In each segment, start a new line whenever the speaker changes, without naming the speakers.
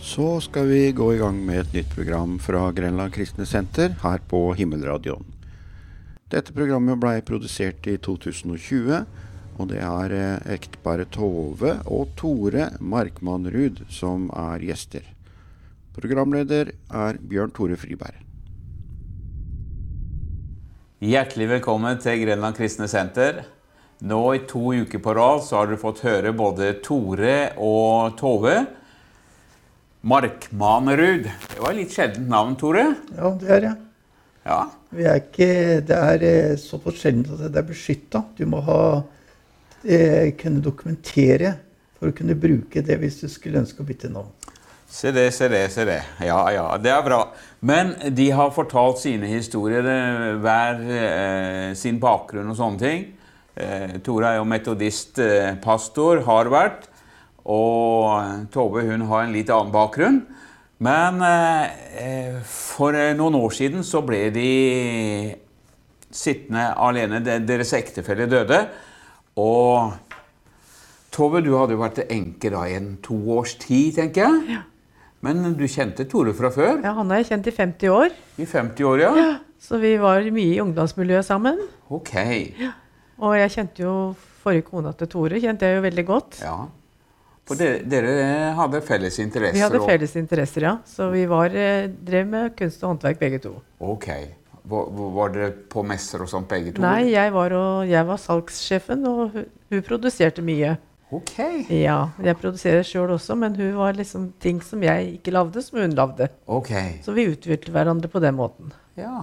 Så skal vi gå i gang med et nytt program fra Grenland Kristne Senter her på Himmelradioen. Dette programmet blei produsert i 2020, og det er eh, ekteparet Tove og Tore Markmann Ruud som er gjester. Programleder er Bjørn Tore Friberg.
Hjertelig velkommen til Grenland Kristne Senter. Nå i to uker på rad så har dere fått høre både Tore og Tove. Markmanerud. Det var et litt sjeldent navn, Tore.
Ja, det er det.
Ja,
Vi er ikke, det er eh, såpass sjelden at det er beskytta. Du må ha, eh, kunne dokumentere for å kunne bruke det hvis du skulle ønske å bytte navn.
Se det, se det, se det. Ja, ja, det er bra. Men de har fortalt sine historier, eh, hver eh, sin bakgrunn og sånne ting. Eh, Tora er jo metodist, eh, pastor, har vært. Og eh, Tove hun har en litt annen bakgrunn. Men eh, eh, for eh, noen år siden så ble de sittende alene. De- Deres ektefelle døde. Og Tove, du hadde jo vært enke da i en to års tid, tenker jeg. Men du kjente Tore fra før?
Ja, han har jeg kjent i 50 år,
I 50 år, ja?
så vi var mye i ungdomsmiljøet sammen.
Ok.
Og jeg kjente jo forrige kona til Tore, kjente jeg jo veldig godt.
Ja. For dere, dere hadde felles interesser?
Vi hadde
og-
felles interesser, ja. Så vi var, eh, drev med kunst og håndverk begge to.
Ok. Var, var dere på messer og sånt begge to?
Nei, jeg var, og, jeg var salgssjefen, og hun, hun produserte mye.
Ok.
Ja, jeg produserer sjøl også, men hun var liksom ting som jeg ikke lagde, som hun lagde.
Ok.
Så vi utviklet hverandre på den måten.
Ja.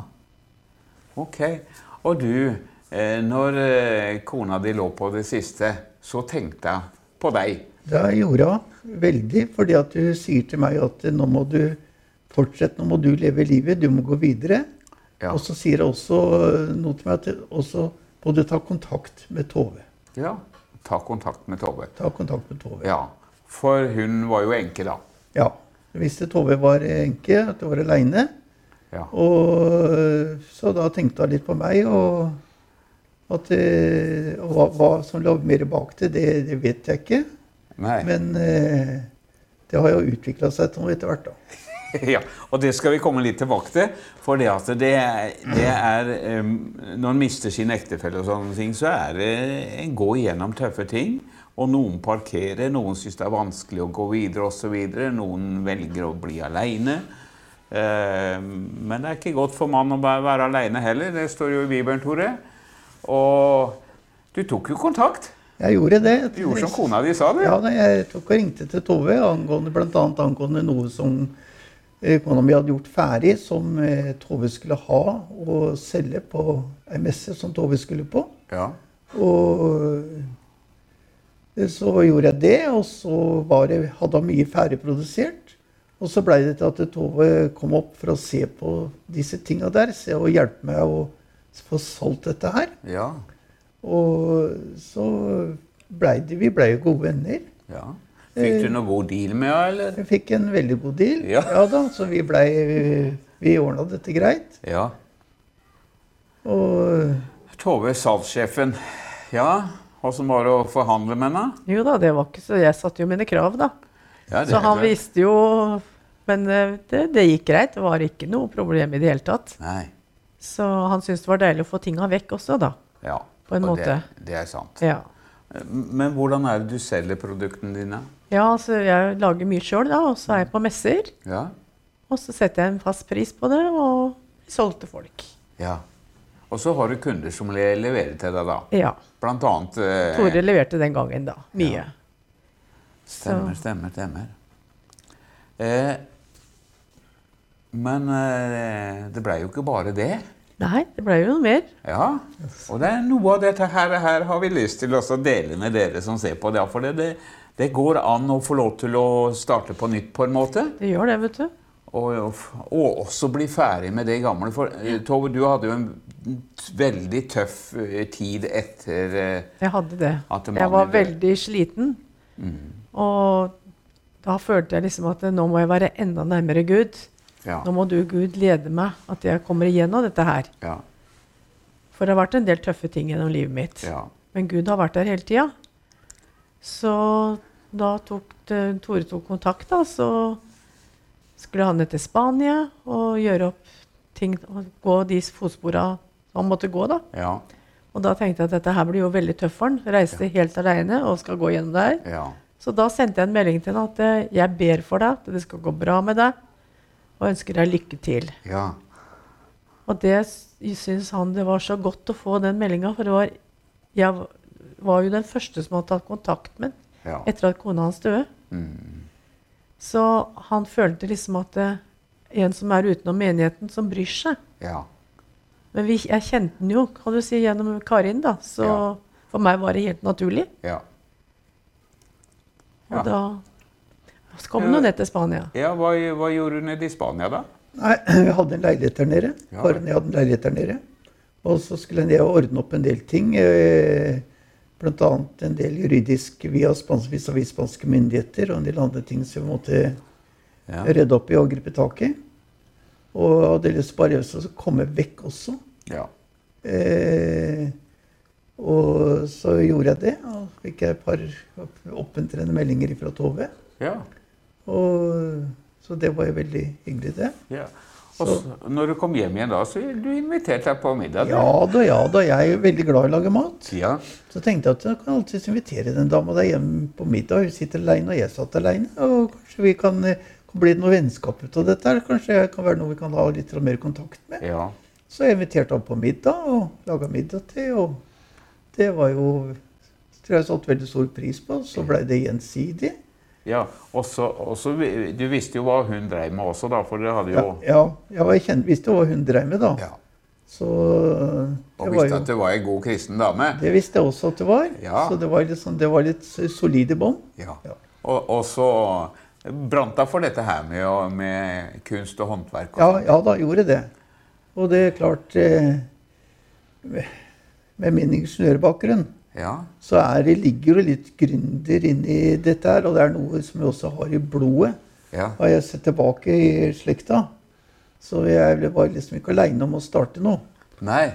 Ok. Og du, eh, når eh, kona di lå på det siste, så tenkte jeg på deg.
Det gjorde hun veldig, fordi at hun sier til meg at eh, nå må du fortsette, nå må du leve livet, du må gå videre.
Ja.
Og så sier hun også eh, noe til meg at det- også må du ta kontakt med Tove.
Ja. Ta kontakt med Tove.
Ta kontakt med Tove.
Ja. For hun var jo enke, da.
Ja. Jeg visste Tove var enke, at hun var aleine.
Ja.
Og, øh, så da tenkte hun litt på meg, og at øh, og hva, hva som lå mer bak det, det, det vet jeg ikke.
Nei.
Men øh, det har jo utvikla seg til noe etter hvert, da.
Ja, og det skal vi komme litt tilbake til. For det at det er, det er em, Når en mister sin ektefelle og sånne ting, så er det en går igjennom tøffe ting. Og noen parkerer, noen syns det er vanskelig å gå videre osv. Noen velger å bli aleine. Men det er ikke godt for mannen å bare være aleine heller. Det står jo i Bibelen, Tore. Og du tok jo kontakt.
Jeg gjorde det.
Du gjorde som kona di sa, du.
Ja, da, jeg tok og ringte til Tove angående bl.a. angående noe som eh, kona mi hadde gjort ferdig, som eh, Tove skulle ha og selge på ei messe som Tove skulle på.
Ja.
Og eh, så gjorde jeg det, og så var det, hadde han mye ferdigprodusert. Og så blei det til at Tove kom opp for å se på disse tinga der. Se og hjelpe meg å få solgt dette her.
Ja.
Og så blei det Vi blei jo gode venner.
ja.
Eh.
Fikk du noe god deal med henne, eller?
Vi fikk en veldig god deal.
Ja.
da, Så vi blei Vi ordna dette greit.
Ja.
Og
Tove, salgssjefen. Ja, åssen var det å forhandle med henne?
Jo da, det var ikke så Jeg satte jo mine krav, da.
Ja, det
Så han
er klart.
visste jo Men eh, det, det gikk greit. Det var ikke noe problem i det hele tatt.
Nei.
Så han syntes det var deilig å få tinga vekk også, da.
Ja.
På en
og
måte.
Det, det er sant.
Ja,
Men hvordan er det du selger produktene dine?
ja så jeg lager mye sjøl, da, og så er jeg på messer.
Ja.
Og så setter jeg en fast pris på det, og solgte folk.
ja. Og så har du kunder som le- leverer til deg, da.
Ja.
Blant annet eh,
Tore leverte den gangen, da. Mye.
Stemmer, stemmer, stemmer. Eh, men eh, det blei jo ikke bare det.
Nei, det ble jo noe mer.
Ja, og det er noe av dette her, her har vi lyst til også å dele med dere som ser på. det, For det, det, det går an å få lov til å starte på nytt, på en måte.
Det gjør det, vet du.
Og, og, og også bli ferdig med det gamle. For eh, Tove, du hadde jo en veldig tøff eh, tid etter eh,
Jeg hadde det.
At en
Jeg
mann
var
i det- Mm.
veldig sliten. Og da følte jeg liksom at eh, nå må jeg være enda nærmere Gud.
Ja.
Nå må du, Gud, lede meg, at jeg kommer igjennom dette her.
Ja,
For det har vært en del tøffe ting gjennom livet mitt.
ja.
Men Gud har vært der hele tida. Så da tok det, Tore tok kontakt, da, så skulle han ned til Spania og gjøre opp ting og gå de fotspora han måtte gå. da.
Ja.
Og da tenkte jeg at dette her blir jo veldig tøft for han. Reiste helt aleine og skal gå gjennom det her.
Ja.
Så da sendte jeg en melding til henne at eh, jeg ber for deg, at det skal gå bra med deg, og ønsker deg lykke til.
Ja.
Og det syns han det var så godt å få den meldinga, for det var, jeg v- var jo den første som hadde tatt kontakt med ham
Ja. Mm.
etter at kona hans døde. Så han følte liksom at det, en som er utenom menigheten, som bryr seg.
ja.
Men vi, jeg kjente den jo, kan du si, gjennom Karin, da. Så
Ja.
for meg var det helt naturlig.
ja.
Og
Ja.
da så kom hun jo ned til Spania.
Ja, hva, hva gjorde du nede i Spania, da?
Nei, vi hadde en leilighet der nede.
Ja.
Karen og jeg hadde en leilighet der nede. Og så skulle jeg ned og ordne opp en del ting. eh, Blant annet en del juridisk via spansk, vis vis spanske myndigheter og en del andre ting som vi måtte
Ja.
redde opp i og gripe tak i. Og hadde lyst bare til å komme vekk også.
Ja.
Eh, og så gjorde jeg det. Og fikk jeg et par opp- oppmuntrende meldinger fra Tove.
ja.
Og, så det var jo veldig hyggelig, det.
ja. Og så, når du kom hjem igjen da, så du inviterte deg på middag? du.
Ja da, ja da. Jeg er jo veldig glad i å lage mat.
Ja.
Så tenkte jeg at jeg kan alltids invitere den dama der hjem på middag. Hun sitter aleine, og jeg satt aleine. Og kanskje vi kan eh, bli noe vennskap ut av dette. her. Kanskje det kan være noe vi kan ha litt mer kontakt med.
ja.
Så jeg inviterte han på middag, og laga middag til. Og det var jo tror jeg satt veldig stor pris på. Så blei det gjensidig.
Ja, og så, og så vi- Du visste jo hva hun dreiv med også, da, for dere hadde
Ja,
jo
ja, jeg var kjent, visste jo hva hun dreiv med, da. Så
Og
det var
visste
jo
at du var ei god kristen dame.
Det visste jeg også at det var.
Ja.
Så det var litt, sånn, det var litt solide bånd.
Ja.
Ja.
Og, og så brant hun for dette her med, å- med kunst og håndverk. Og sånn.
Ja,
sånt.
ja da, gjorde det. Og det er klart eh, Med med min ingeniørbakgrunn
ja.
så er det, ligger det litt gründer inni dette her. Og det er noe som jeg også har i blodet.
Ja.
Har jeg sett tilbake i slekta. Så jeg ble- var liksom ikke aleine om å starte noe.
Nei.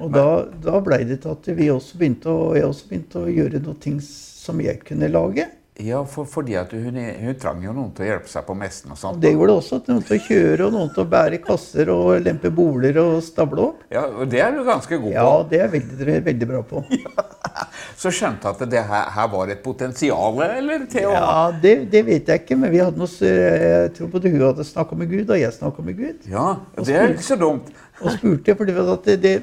Og da, da blei det til at vi også begynte å, jeg også begynte å gjøre noen ting som jeg kunne lage.
Ja, for, fordi at hun, hun trang jo noen til å hjelpe seg på messen og sånn.
Og
sånt.
Det gjorde det også. at Noen til å kjøre, og noen til å bære kasser og lempe boler og stable opp.
Ja, og det er du ganske god
Ja,
på.
det er jeg veldig, veldig bra på.
Så skjønte at det her, her var et potensial, eller? Til å...
Ja, det, det vet jeg ikke, men vi hadde noe, s- jeg tror både hun hadde snakka med Gud, og jeg snakka med Gud.
ja, det er jo ikke så dumt.
Og spurte, for at det, det,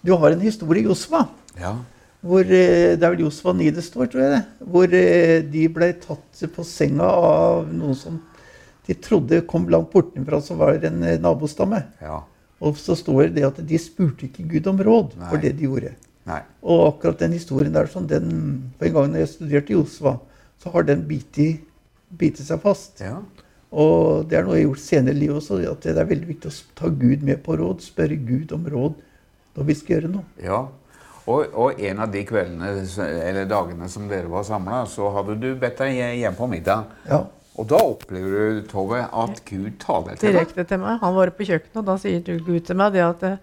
du har en historie i Josva.
Ja,
Hvor, eh, det er vel Josva 9 det står, tror jeg det. Hvor eh, de ble tatt på senga av noen som de trodde kom langt bortenfra, som var en eh, nabostamme.
ja,
Og så står det at de spurte ikke Gud om råd
Nei.
for det de gjorde.
nei.
Og akkurat den historien der, sånn, den, på en gang når jeg studerte i Josva, så har den bitt i- bitt seg fast.
Ja,
Og det er noe jeg har gjort senere i livet også, at det er veldig viktig å s- ta Gud med på råd. Spørre Gud om råd når vi skal gjøre noe.
ja. Og, og en av de kveldene, eller dagene som dere var samla, så hadde du bedt deg hjem på middag.
Ja.
Og da opplever du, Tove, at Gud taler til deg.
direkte til meg. Han var oppe på kjøkkenet, og da sier du Gud til meg det at eh,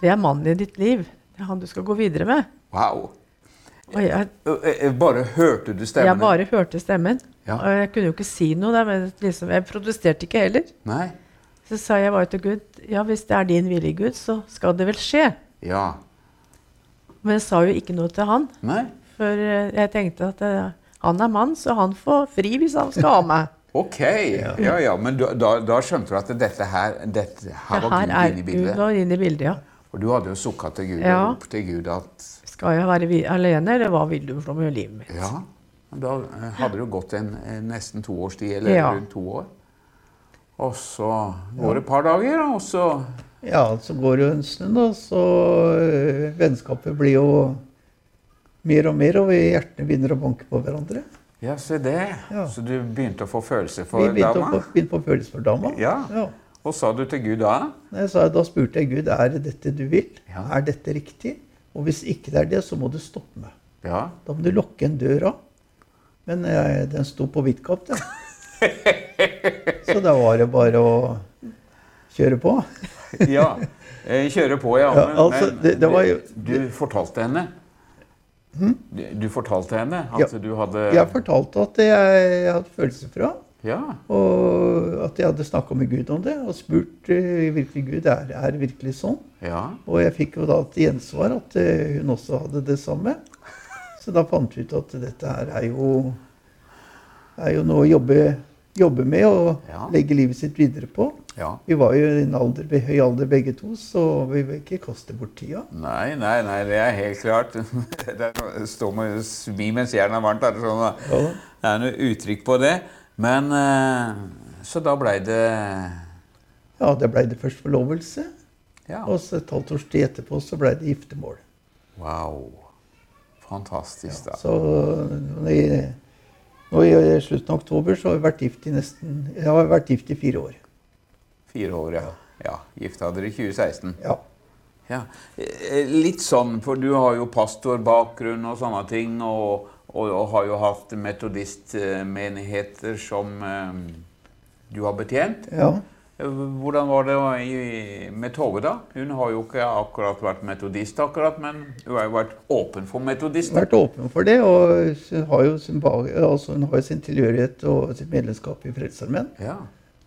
det er mannen i ditt liv. Det er han du skal gå videre med.
Wow.
Og jeg,
Ø, ø, Bare hørte du stemmen?
jeg bare hørte stemmen.
Ja.
Og jeg kunne jo ikke si noe der, men liksom, jeg protesterte ikke heller.
Nei?
Så sa jeg bare til Gud ja, hvis det er din vilje, Gud, så skal det vel skje.
Ja.
Men jeg sa jo ikke noe til han,
Nei?
for eh, jeg tenkte at eh, han er mann, så han får fri hvis han skal ha meg.
Ok. Ja, ja, men da, da, da skjønte du at dette her, dette
Det
her var
her
Gud
er
inne i
Gud
bildet.
nå inne i bildet, ja.
Og du hadde jo sukka til Gud
Ja.
og ropt til Gud at
Skal jeg være vi alene, eller hva vil du for noe med livet mitt?
Ja. men Da eh, hadde du gått en, en nesten to års tid, eller
Ja.
rundt to år. Og så går det et par dager, og så
Ja, så går det jo en stund, da. Så øh, vennskapet blir jo mer og mer, og hjertene begynner å banke på hverandre.
Ja, se det.
Ja.
Så du begynte å få følelser
Vi
for
begynte å
dama.
få- begynte på følelser for dama.
Ja. Og sa du til Gud da?
Nei, så da spurte jeg Gud er det dette du vil.
Ja.
Er dette riktig? Og hvis ikke det er det, så må du stoppe meg.
Ja.
Da må du lukke en dør av. Men eh, den sto på vidt gap, den. Så da var det bare å kjøre på.
ja. Eh, Kjøre på, ja.
Ja, altså, det- det var jo-
du, du fortalte henne. Du, du fortalte henne at
Ja.
du hadde
Jeg fortalte at jeg hadde følelser for ham.
Ja.
Og at jeg hadde snakka med Gud om det og spurt eh, virkelig Gud er er det virkelig sånn.
Ja.
Og jeg fikk jo da til gjensvar at eh, hun også hadde det samme. Så da fant vi ut at dette her er jo, er jo noe å jobbe, jobbe med og
Ja.
legge livet sitt videre på.
ja.
Vi var jo i en alder, i høy alder begge to, så vi vil ikke kaste bort tida.
Nei, nei, nei, det er helt klart. Det er noe- Stå med smi mens jernet er varmt. Er det, sånn, da?
Ja.
det er noe uttrykk på det. Men eh, Så da blei det
Ja, det blei det først forlovelse,
Ja.
og så et halvt års tid etterpå så blei det giftermål.
Wow. Fantastisk, da.
Så når jeg, nå i slutten av oktober så har vi vært gift i nesten Jeg har vært gift i fire år.
Fire år, ja. ja. Gifta dere i 2016.
Ja.
Ja. Eh, Litt sånn, for du har jo pastorbakgrunn og sånne ting, og, og, og har jo hatt metodistmenigheter som eh, du har betjent.
ja.
Eh, Hvordan var det i- med Tove, da? Hun har jo ikke akkurat vært metodist, akkurat, men hun har jo vært åpen for metodist.
vært åpen for det, og hun har jo sin, bag- altså hun har jo sin tilhørighet og sitt medlemskap i Frelsesarmeen.
Ja.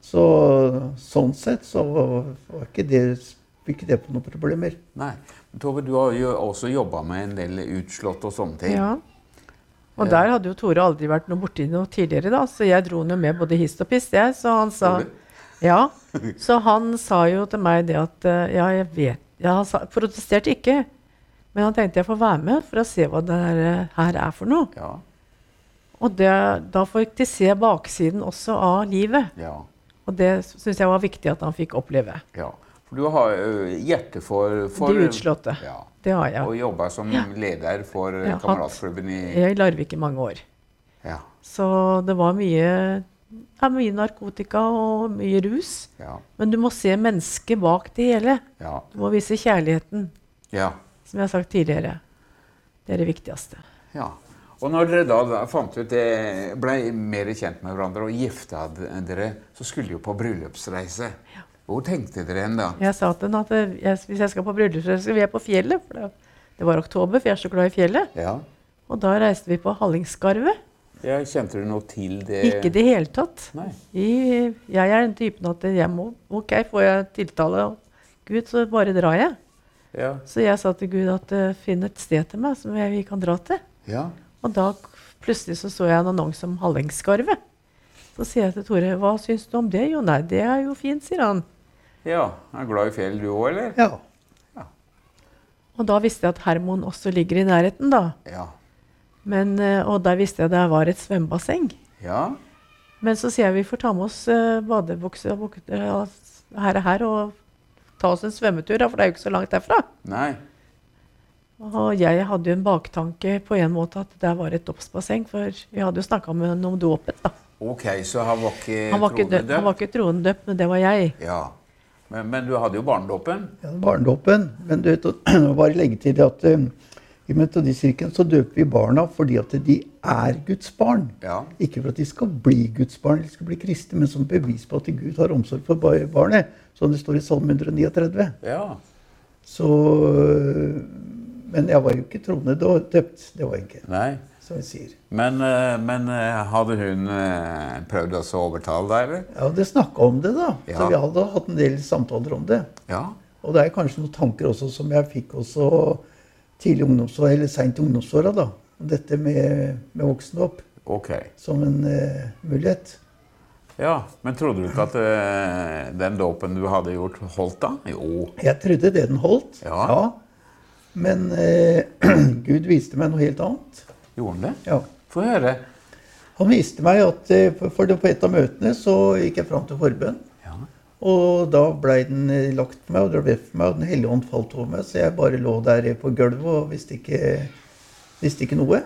Så sånn sett så var ikke det, fikk ikke det på noen problemer.
Nei. Tove, du har jo også jobba med en del utslått og sånne ting.
Ja. Og der hadde jo Tore aldri vært noe borti noe tidligere, da, så jeg dro henne med både hist og pist. Jeg, så han sa
Gjorde
Ja. Så han sa jo til meg det at eh, Ja, jeg vet ja, Han sa, protesterte ikke, men han tenkte jeg får være med for å se hva det her, eh, her er for noe.
Ja.
Og det, da fikk de se baksiden også av livet.
ja.
Og det syns jeg var viktig at han fikk oppleve.
ja. For du har ø, hjerte for, for
De utslåtte.
Ja.
Det har jeg.
Og jobba som leder for
Jeg har hatt-
kameratklubben i
Jeg er i Larvik i mange år.
Ja.
Så det var mye, ja, mye narkotika og mye rus.
Ja.
Men du må se mennesket bak det hele.
Ja.
Du må vise kjærligheten,
ja.
som jeg har sagt tidligere. Det er det viktigste.
ja. Og når dere da, da fant ut det, blei mer kjent med hverandre og gifta d- dere, så skulle dere jo på bryllupsreise. Hvor tenkte dere hen da?
Jeg sa til henne at eh, jeg, hvis jeg skal på bryllupsreise, skal vi være på fjellet. For det, det var oktober, for jeg er så glad i fjellet.
Ja.
Og da reiste vi på Hallingskarvet.
ja kjente du noe til det?
Ikke i det hele tatt.
Nei.
I, jeg er den typen at jeg må OK, får jeg tiltale av Gud, så bare drar jeg.
Ja.
Så jeg sa til Gud at eh, finn et sted til meg som jeg, vi kan dra til.
ja.
Og da k- plutselig så, så jeg en annonse om Hallingskarvet. Så sier jeg til Tore hva syns du om det? Jo, nei, det er jo fint, sier han.
Ja. Er du glad i fjell du òg, eller?
Ja.
Og da visste jeg at Hermoen også ligger i nærheten, da.
Ja.
Men, eh, og der visste jeg det var et svømmebasseng.
Ja.
Men så sier jeg vi får ta med oss uh, badebukse og bukter og s- her og her og ta oss en svømmetur, da, for det er jo ikke så langt derfra.
Nei.
Og jeg hadde jo en baktanke på en måte at det var et dåpsbasseng, for vi hadde jo snakka med han om dåpen, da.
Ok, så han var ikke
Han var ikke, dø-
tronedømt?
han var ikke troendedøpt, men det var jeg.
Ja. Men, men du hadde jo barnedåpen?
ja barnedåpen. Men du vet, nå bare legge til det at eh, i Metodistkirken så døper vi barna fordi at de er Guds barn.
Ja.
Ikke for at de skal bli Guds barn, eller skal bli kristne, men som bevis på at Gud har omsorg for bar- barnet. Som det står i Salme 139.
Ja.
Så øh, Men jeg var jo ikke troende da, døpt. Det var jeg ikke,
Nei.
som jeg sier.
Men, eh, men eh, hadde hun eh, prøvd også å overtale deg, eller?
Jeg hadde snakka om det, da.
Ja.
Så vi hadde hatt en del samtaler om det.
Ja.
Og det er kanskje noen tanker også som jeg fikk også tidlig i ungdomsåra, eller seint i ungdomsåra, da. Om dette med, med voksne opp
Ok.
som en eh, mulighet.
Ja, Men trodde du ikke at eh, den dåpen du hadde gjort, holdt da? Jo.
Jeg trodde det den holdt.
Ja.
Men eh, Gud viste meg noe helt annet.
Gjorde den det?
Ja.
Få høre.
Han viste meg at eh, for- for det- på et av møtene så gikk jeg fram til forbønn.
Ja.
Og da blei den eh, lagt for meg, og det ble for meg, og Den hellige ånd falt over meg, så jeg bare lå der eh, på gulvet og visste ikke, visste ikke noe.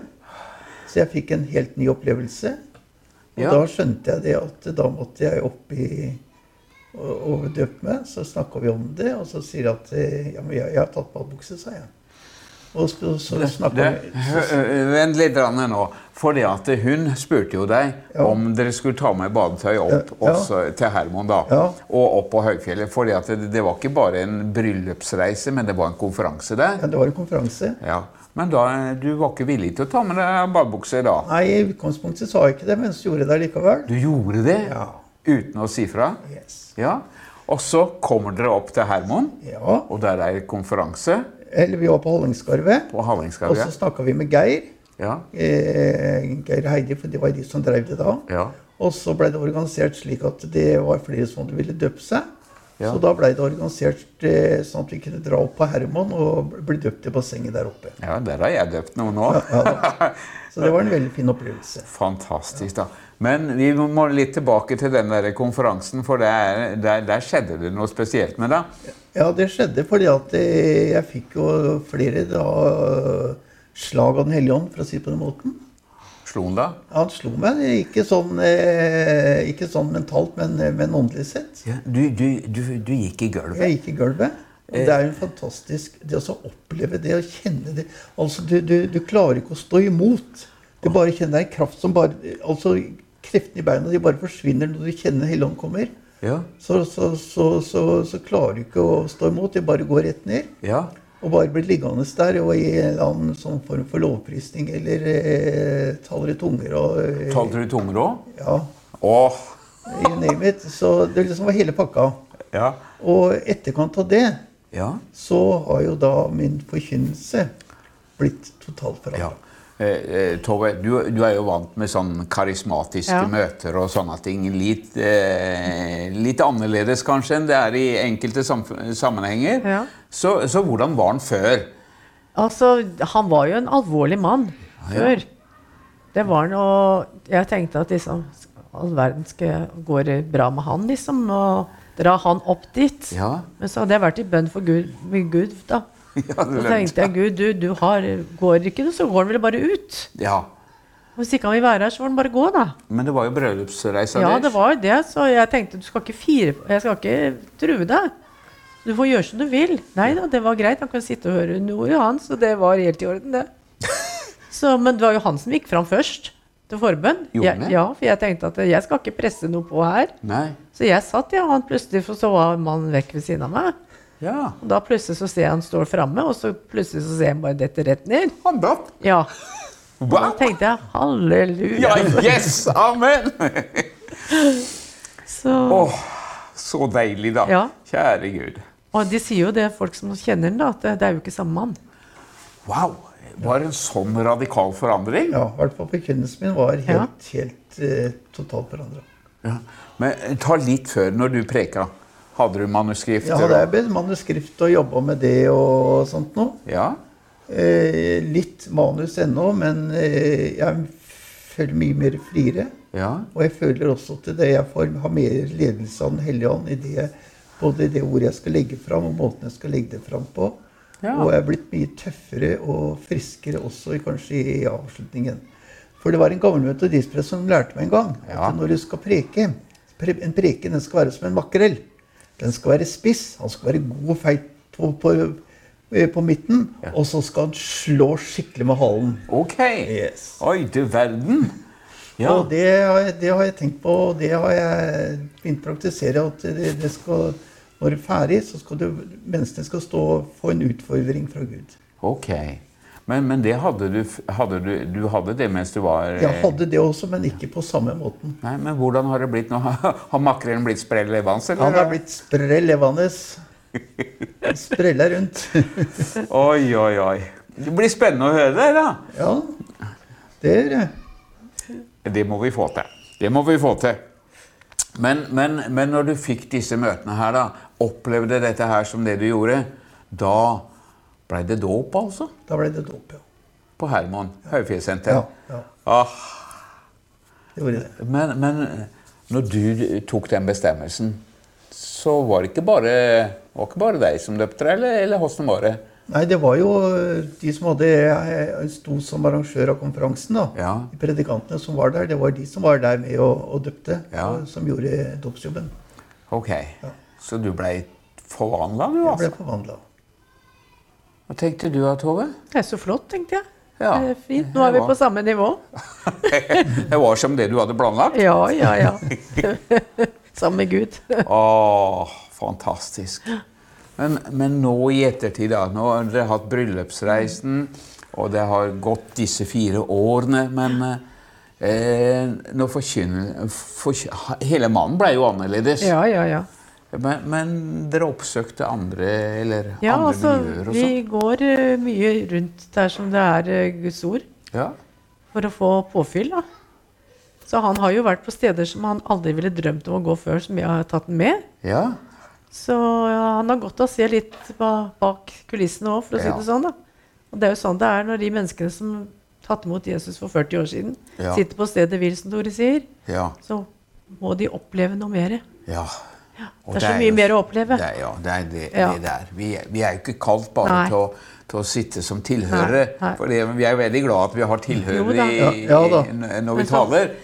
Så jeg fikk en helt ny opplevelse. Og
Ja.
da skjønte jeg det at da måtte jeg opp i og, og døpe meg. Så snakka vi om det, og så sier jeg at eh, ja, men jeg, jeg har tatt badebukse, sa jeg. Og så, så
Du,
snakka vi
hø- ø, Vent litt grann nå. Fordi at hun spurte jo deg
Ja.
om dere skulle ta med badetøy opp
Ja, ja.
også til Hermon da,
Ja.
og opp på høyfjellet. Fordi at det, det var ikke bare en bryllupsreise, men det var en konferanse der.
ja, Det var en konferanse.
Ja. Men da, du var ikke villig til å ta med deg badebukse da?
Nei, i utgangspunktet sa jeg ikke det, men så gjorde jeg det likevel.
Du gjorde det
Ja.
uten å si fra?
Yes.
Ja. Og så kommer dere opp til Hermon,
Ja.
og der er det konferanse
Eller vi var på Hallingskarvet,
på
og så
Hallingskarvet.
snakka vi med Geir.
Ja.
Eh, Geir Heidi, for det var de som drev det da.
Ja.
Og så ble det organisert slik at det var flere som ville døpe seg.
Ja.
Så da ble det organisert eh, sånn at vi kunne dra opp på Herman og bli døpt i bassenget der oppe.
ja, der har jeg døpt noen nå.
Så det var en veldig fin opplevelse.
Fantastisk, da. Men vi må litt tilbake til den der konferansen, for der, der, der skjedde det noe spesielt med deg.
Ja, det skjedde fordi at eh, jeg fikk jo flere da, slag av Den hellige ånd, for å si det på den måten.
Slo han deg?
Han slo meg, ikke sånn, eh, ikke sånn mentalt, men, men åndelig sett.
Du, du, du, du gikk i gulvet.
Jeg gikk i gulvet. Og det er jo en fantastisk Det å så oppleve det, å kjenne det Altså, du, du, du klarer ikke å stå imot. Du bare kjenner en kraft som bare Altså, kreftene i beina de bare forsvinner når du kjenner Helligånden kommer.
Ja.
Så, så, så, så, så klarer du ikke å stå imot. Det bare går rett ned.
Ja.
Og bare blir liggende der og i en eller annen sånn form for lovprisning eller eh, taler i tunger og eh,
Talte du tunger òg?
Ja,
Åh!
you name it. Så det liksom var hele pakka.
Ja.
Og etterkant av det
Ja.
så har jo da min forkynnelse blitt totalt
ja.
forandra.
Eh, eh, Tove, du, du er jo vant med sånn karismatiske
Ja.
møter og sånne ting. Litt, eh, litt annerledes kanskje enn det er i enkelte samf- sammenhenger.
Ja.
Så, så hvordan var han før?
Altså, han var jo en alvorlig mann før. Det var han, og jeg tenkte at liksom All verden skal gå bra med han, liksom. Og dra han opp dit.
Ja.
Men så hadde jeg vært i bønn for Gud, med Gud, da.
Ja, det
Så
lønte.
tenkte jeg Gud, du, du har, går ikke, du, så går han vel bare ut.
Ja.
Hvis ikke han vil være her, så får han bare gå, da.
Men det var jo bryllupsreisa
Ja,
deres.
det var jo det, så jeg tenkte du skal ikke fire Jeg skal ikke true deg. Du får gjøre som du vil. Nei da, det var greit. Han kan sitte og høre noe, han. Så det var helt i orden, det. Så, men det var jo han som gikk fram først til forbønn.
Gjorde han
Jeg,
det?
ja, for jeg tenkte at jeg skal ikke presse noe på her.
Nei.
Så jeg satt, ja, og han plutselig for så var mannen vekk ved siden av meg.
Ja.
Og da plutselig så ser jeg han står framme, og så plutselig så ser jeg han bare dette rett ned.
Han datt.
Ja. Og da
Wow.
tenkte jeg halleluja.
Ja, yes! Amen!
Så,
Åh, så deilig, da.
Ja.
Kjære Gud.
og de sier jo det, folk som kjenner den, da, at det- det er jo ikke samme mann.
Wow! Var det en sånn radikal forandring?
Ja, i hvert fall forkynnelsen min var helt,
Ja.
helt eh, totalt forandra.
Ja. Men eh, ta litt før, når du preka. Hadde du manuskrifter?
Jeg hadde
og-
bedt manuskript og jobba med det og sånt noe.
ja.
Eh, litt manus ennå, men eh, jeg føler mye mer friere.
ja.
Og jeg føler også til det jeg får, har mer ledelse av Den hellige ånd i det, både i det ordet jeg skal legge fram, og måten jeg skal legge det fram på.
Ja.
Og jeg er blitt mye tøffere og friskere også i, kanskje i avslutningen. For det var en gammel metodistprest som lærte meg en gang at
Ja.
når du skal preke pre, En preken den skal være som en makrell. Den skal være spiss, han skal være god og feit på, på, eh, på midten, og så skal han slå skikkelig med halen.
Ok.
Yes.
Oi, du verden. Ja.
Og det har, jeg, det har jeg tenkt på, og det har jeg begynt å praktisere. At det, det skal, når du er ferdig, så skal du, menneskene skal stå og få en utfordring fra Gud.
Ok. Men, men det hadde du, f- hadde du Du hadde det mens du var eh,
Jeg hadde det også, men ikke på samme måten.
Nei, men hvordan har det blitt nå? Har makrellen blitt sprell levende? eller?
Han er blitt sprell levende. Sprella rundt.
Oi, oi, oi. Det blir spennende å høre det, da.
Ja, det gjør jeg.
Det må vi få til. Det må vi få til. Men, men, men når du fikk disse møtene her, da, opplevde dette her som det du gjorde, da ble det dåp, altså?
Da ble det dåp, ja.
På Herman Høyfjellssenter.
Ja, ja.
Ah,
Det gjorde det.
men, men når du tok den bestemmelsen, så var det ikke bare, var ikke bare deg som døpte deg, eller, eller hvordan var det?
Nei, det var jo eh, de som hadde jeg sto som arrangør av konferansen. da.
Ja.
De predikantene som var der, det var de som var der med og, og døpte.
Ja.
og Som gjorde dåpsjobben.
Ok, så du ble forvandla, du,
Jeg ble
altså?
forvandla.
Hva tenkte du da, Tove?
Det er så flott, tenkte jeg.
Ja.
Det er fint. Nå er vi
Ja.
på samme nivå.
Det var som det du hadde planlagt?
Ja, ja, ja. Sammen med Gud.
Åh, fantastisk. Men, men nå i ettertid, da. Nå har dere hatt bryllupsreisen, Og det har gått disse fire årene, men eh, når forkynner, forkyn- Hele mannen ble jo annerledes.
Ja, ja, ja.
Men, men dere oppsøkte andre, eller
ja
andre
altså,
miljøer og
vi
sånn?
går eh, mye rundt der som det er eh, Guds ord,
Ja.
for å få påfyll. da. Så han har jo vært på steder som han aldri ville drømt om å gå før, som jeg har tatt han med.
ja.
Så ja, han har godt av å se litt ba bak kulissene òg, for å si
Ja.
det sånn. da. Og det er jo sånn det er når de menneskene som tatt imot Jesus for 40 år siden,
Ja.
sitter på stedet hvil, som Tore sier,
Ja.
så må de oppleve noe mer.
ja. Og
Det er så mye
jo-
mer å oppleve.
Det er, ja, det er det,
Ja.
det der. Vi, er- vi er jo ikke kalt bare
Nei.
til å, til å sitte som tilhørere.
Nei, nei.
For det, vi er jo veldig glad at vi har
Jo
tilhørere
da.
i,
Ja, ja da.
i- n- når
Men
vi
så-
taler.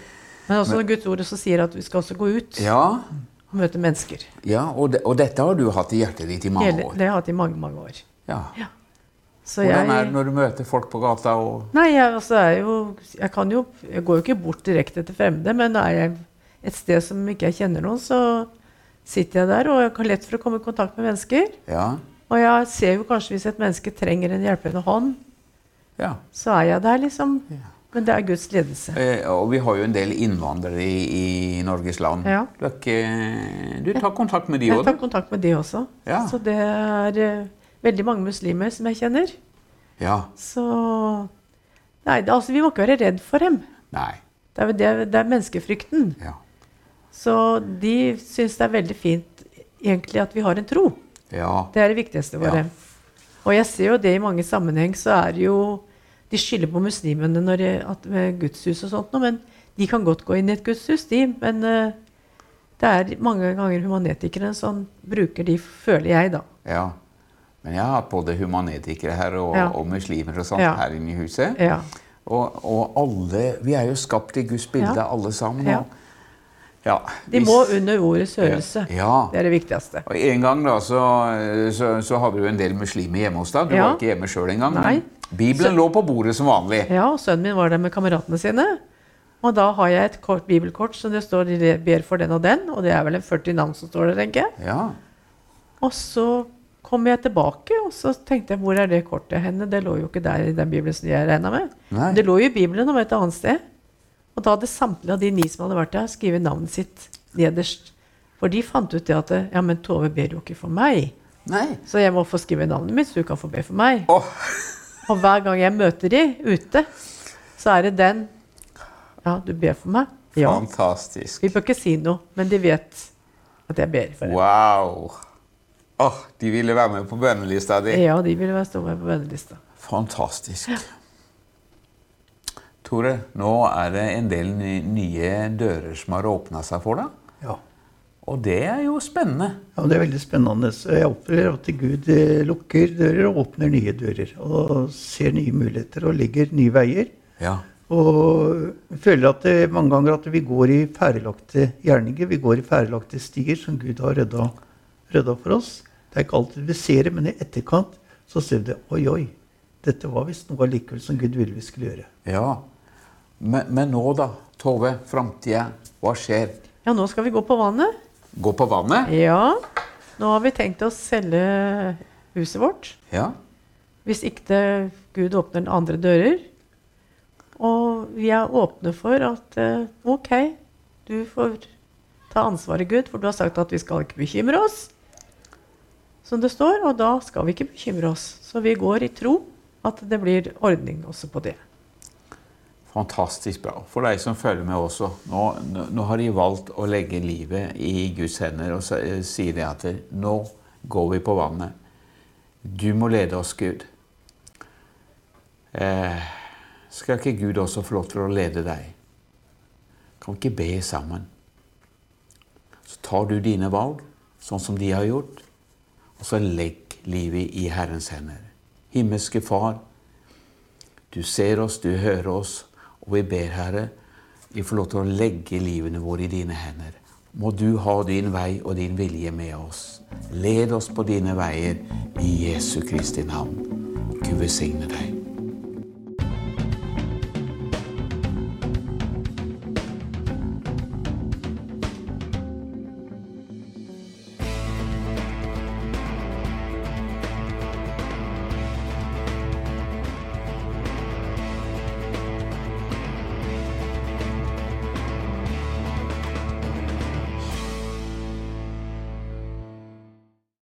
Men også når Guds ord også sier at vi skal også gå ut
Ja,
og møte mennesker.
ja og, de, og dette har du hatt i hjertet ditt i mange
Hele,
år.
det har jeg hatt i mange, mange år.
Ja.
Så
Hvordan er
jeg,
det når du møter folk på gata og
nei, jeg, altså, er jo, jeg kan jo Jeg går jo ikke bort direkte til fremmede, men er jeg et sted som ikke jeg kjenner noen, så sitter jeg der og jeg har lett for å komme i kontakt med mennesker.
Ja.
Og jeg ser jo kanskje hvis et menneske trenger en hjelpende hånd,
ja.
så er jeg der, liksom. Men det er Guds ledelse.
Eh, og vi har jo en del innvandrere i, i Norges land.
Ja.
Løkke, du tar kontakt med de
Jeg
òg,
tar
du?
kontakt med de også.
Ja.
Så det er eh, veldig mange muslimer som jeg kjenner.
Ja.
Så Nei, det, altså, vi må ikke være redd for dem.
Nei.
Det er, jo det, det er menneskefrykten.
Ja.
Så de syns det er veldig fint egentlig at vi har en tro.
Ja.
Det er det viktigste for
Ja.
dem. Og jeg ser jo det i mange sammenheng, så er det jo De skylder på muslimene når de, at med gudshus og sånt noe, men de kan godt gå inn i et gudshus, de. Men eh, det er mange ganger humanetikere som bruker de, føler jeg, da.
ja. Men jeg har hatt både humanetikere her og,
Ja.
og muslimer og sånt
Ja.
her inne i huset.
Ja.
Og, og alle Vi er jo skapt i Guds bilde,
Ja.
alle sammen.
Ja.
Og, ja.
De
hvis-
må under ordets hørelse.
Ja.
Det er det viktigste.
Og En gang da, så, så, så hadde du en del muslimer hjemme hos deg. Du
Ja.
var ikke hjemme sjøl engang. men
Nei.
Bibelen lå på bordet som vanlig.
Ja, og sønnen min var der med kameratene sine. Og da har jeg et kort bibelkort som det står de ber for den og den, og det er vel en 40 navn som står der, tenker jeg.
Ja.
Og så kom jeg tilbake, og så tenkte jeg hvor er det kortet henne? Det lå jo ikke der i den bibelen som jeg regna med.
Nei.
Det lå jo i Bibelen og et annet sted. Og da hadde samtlige av de ni som hadde vært der, skrevet navnet sitt nederst. For de fant ut det at ja, men Tove ber jo ikke for meg,
Nei.
så jeg må få skrive navnet mitt, så du kan få be for meg.
Åh,
Og hver gang jeg møter de ute, så er det den Ja, du ber for meg? Ja.
Fantastisk.
Vi bør ikke si noe, men de vet at jeg ber for dem.
Wow. Åh, de ville være med på bønnelista di.
Ja, de vil være stå med på vennelista.
Fantastisk. Tore, nå er det en del ny- nye dører som har åpna seg for deg.
Ja.
Og det er jo spennende.
Ja, Det er veldig spennende. Så jeg opplever at Gud eh, lukker dører og åpner nye dører. Og ser nye muligheter og legger nye veier.
Ja.
Og føler at det, mange ganger at vi går i ferdelagte gjerninger. Vi går i ferdelagte stier som Gud har redda, redda for oss. Det er ikke alltid vi ser det, men i etterkant så ser vi det. Oi, oi. Dette var visst noe allikevel som Gud ville vi skulle gjøre.
ja. Men, men nå, da? Tove, framtida. Hva skjer?
Ja, nå skal vi gå på vannet.
Gå på vannet?
Ja. Nå har vi tenkt å selge huset vårt.
Ja.
Hvis ikke det, Gud åpner den andre dører. Og vi er åpne for at eh, OK, du får ta ansvaret, Gud, for du har sagt at vi skal ikke bekymre oss. Som det står. Og da skal vi ikke bekymre oss. Så vi går i tro at det blir ordning også på det.
Fantastisk bra. For deg som følger med også. Nå, nå, nå har de valgt å legge livet i Guds hender og så- eh, sier det at det- nå går vi på vannet. Du må lede oss, Gud. Eh, skal ikke Gud også få lov til å lede deg? Kan vi ikke be sammen? Så tar du dine valg, sånn som de har gjort, og så legg livet i Herrens hender. Himmelske Far, du ser oss, du hører oss, og vi ber, Herre, vi får lov til å legge livene våre i dine hender. Må du ha din vei og din vilje med oss. Led oss på dine veier i Jesu Kristi navn. Gud velsigne deg.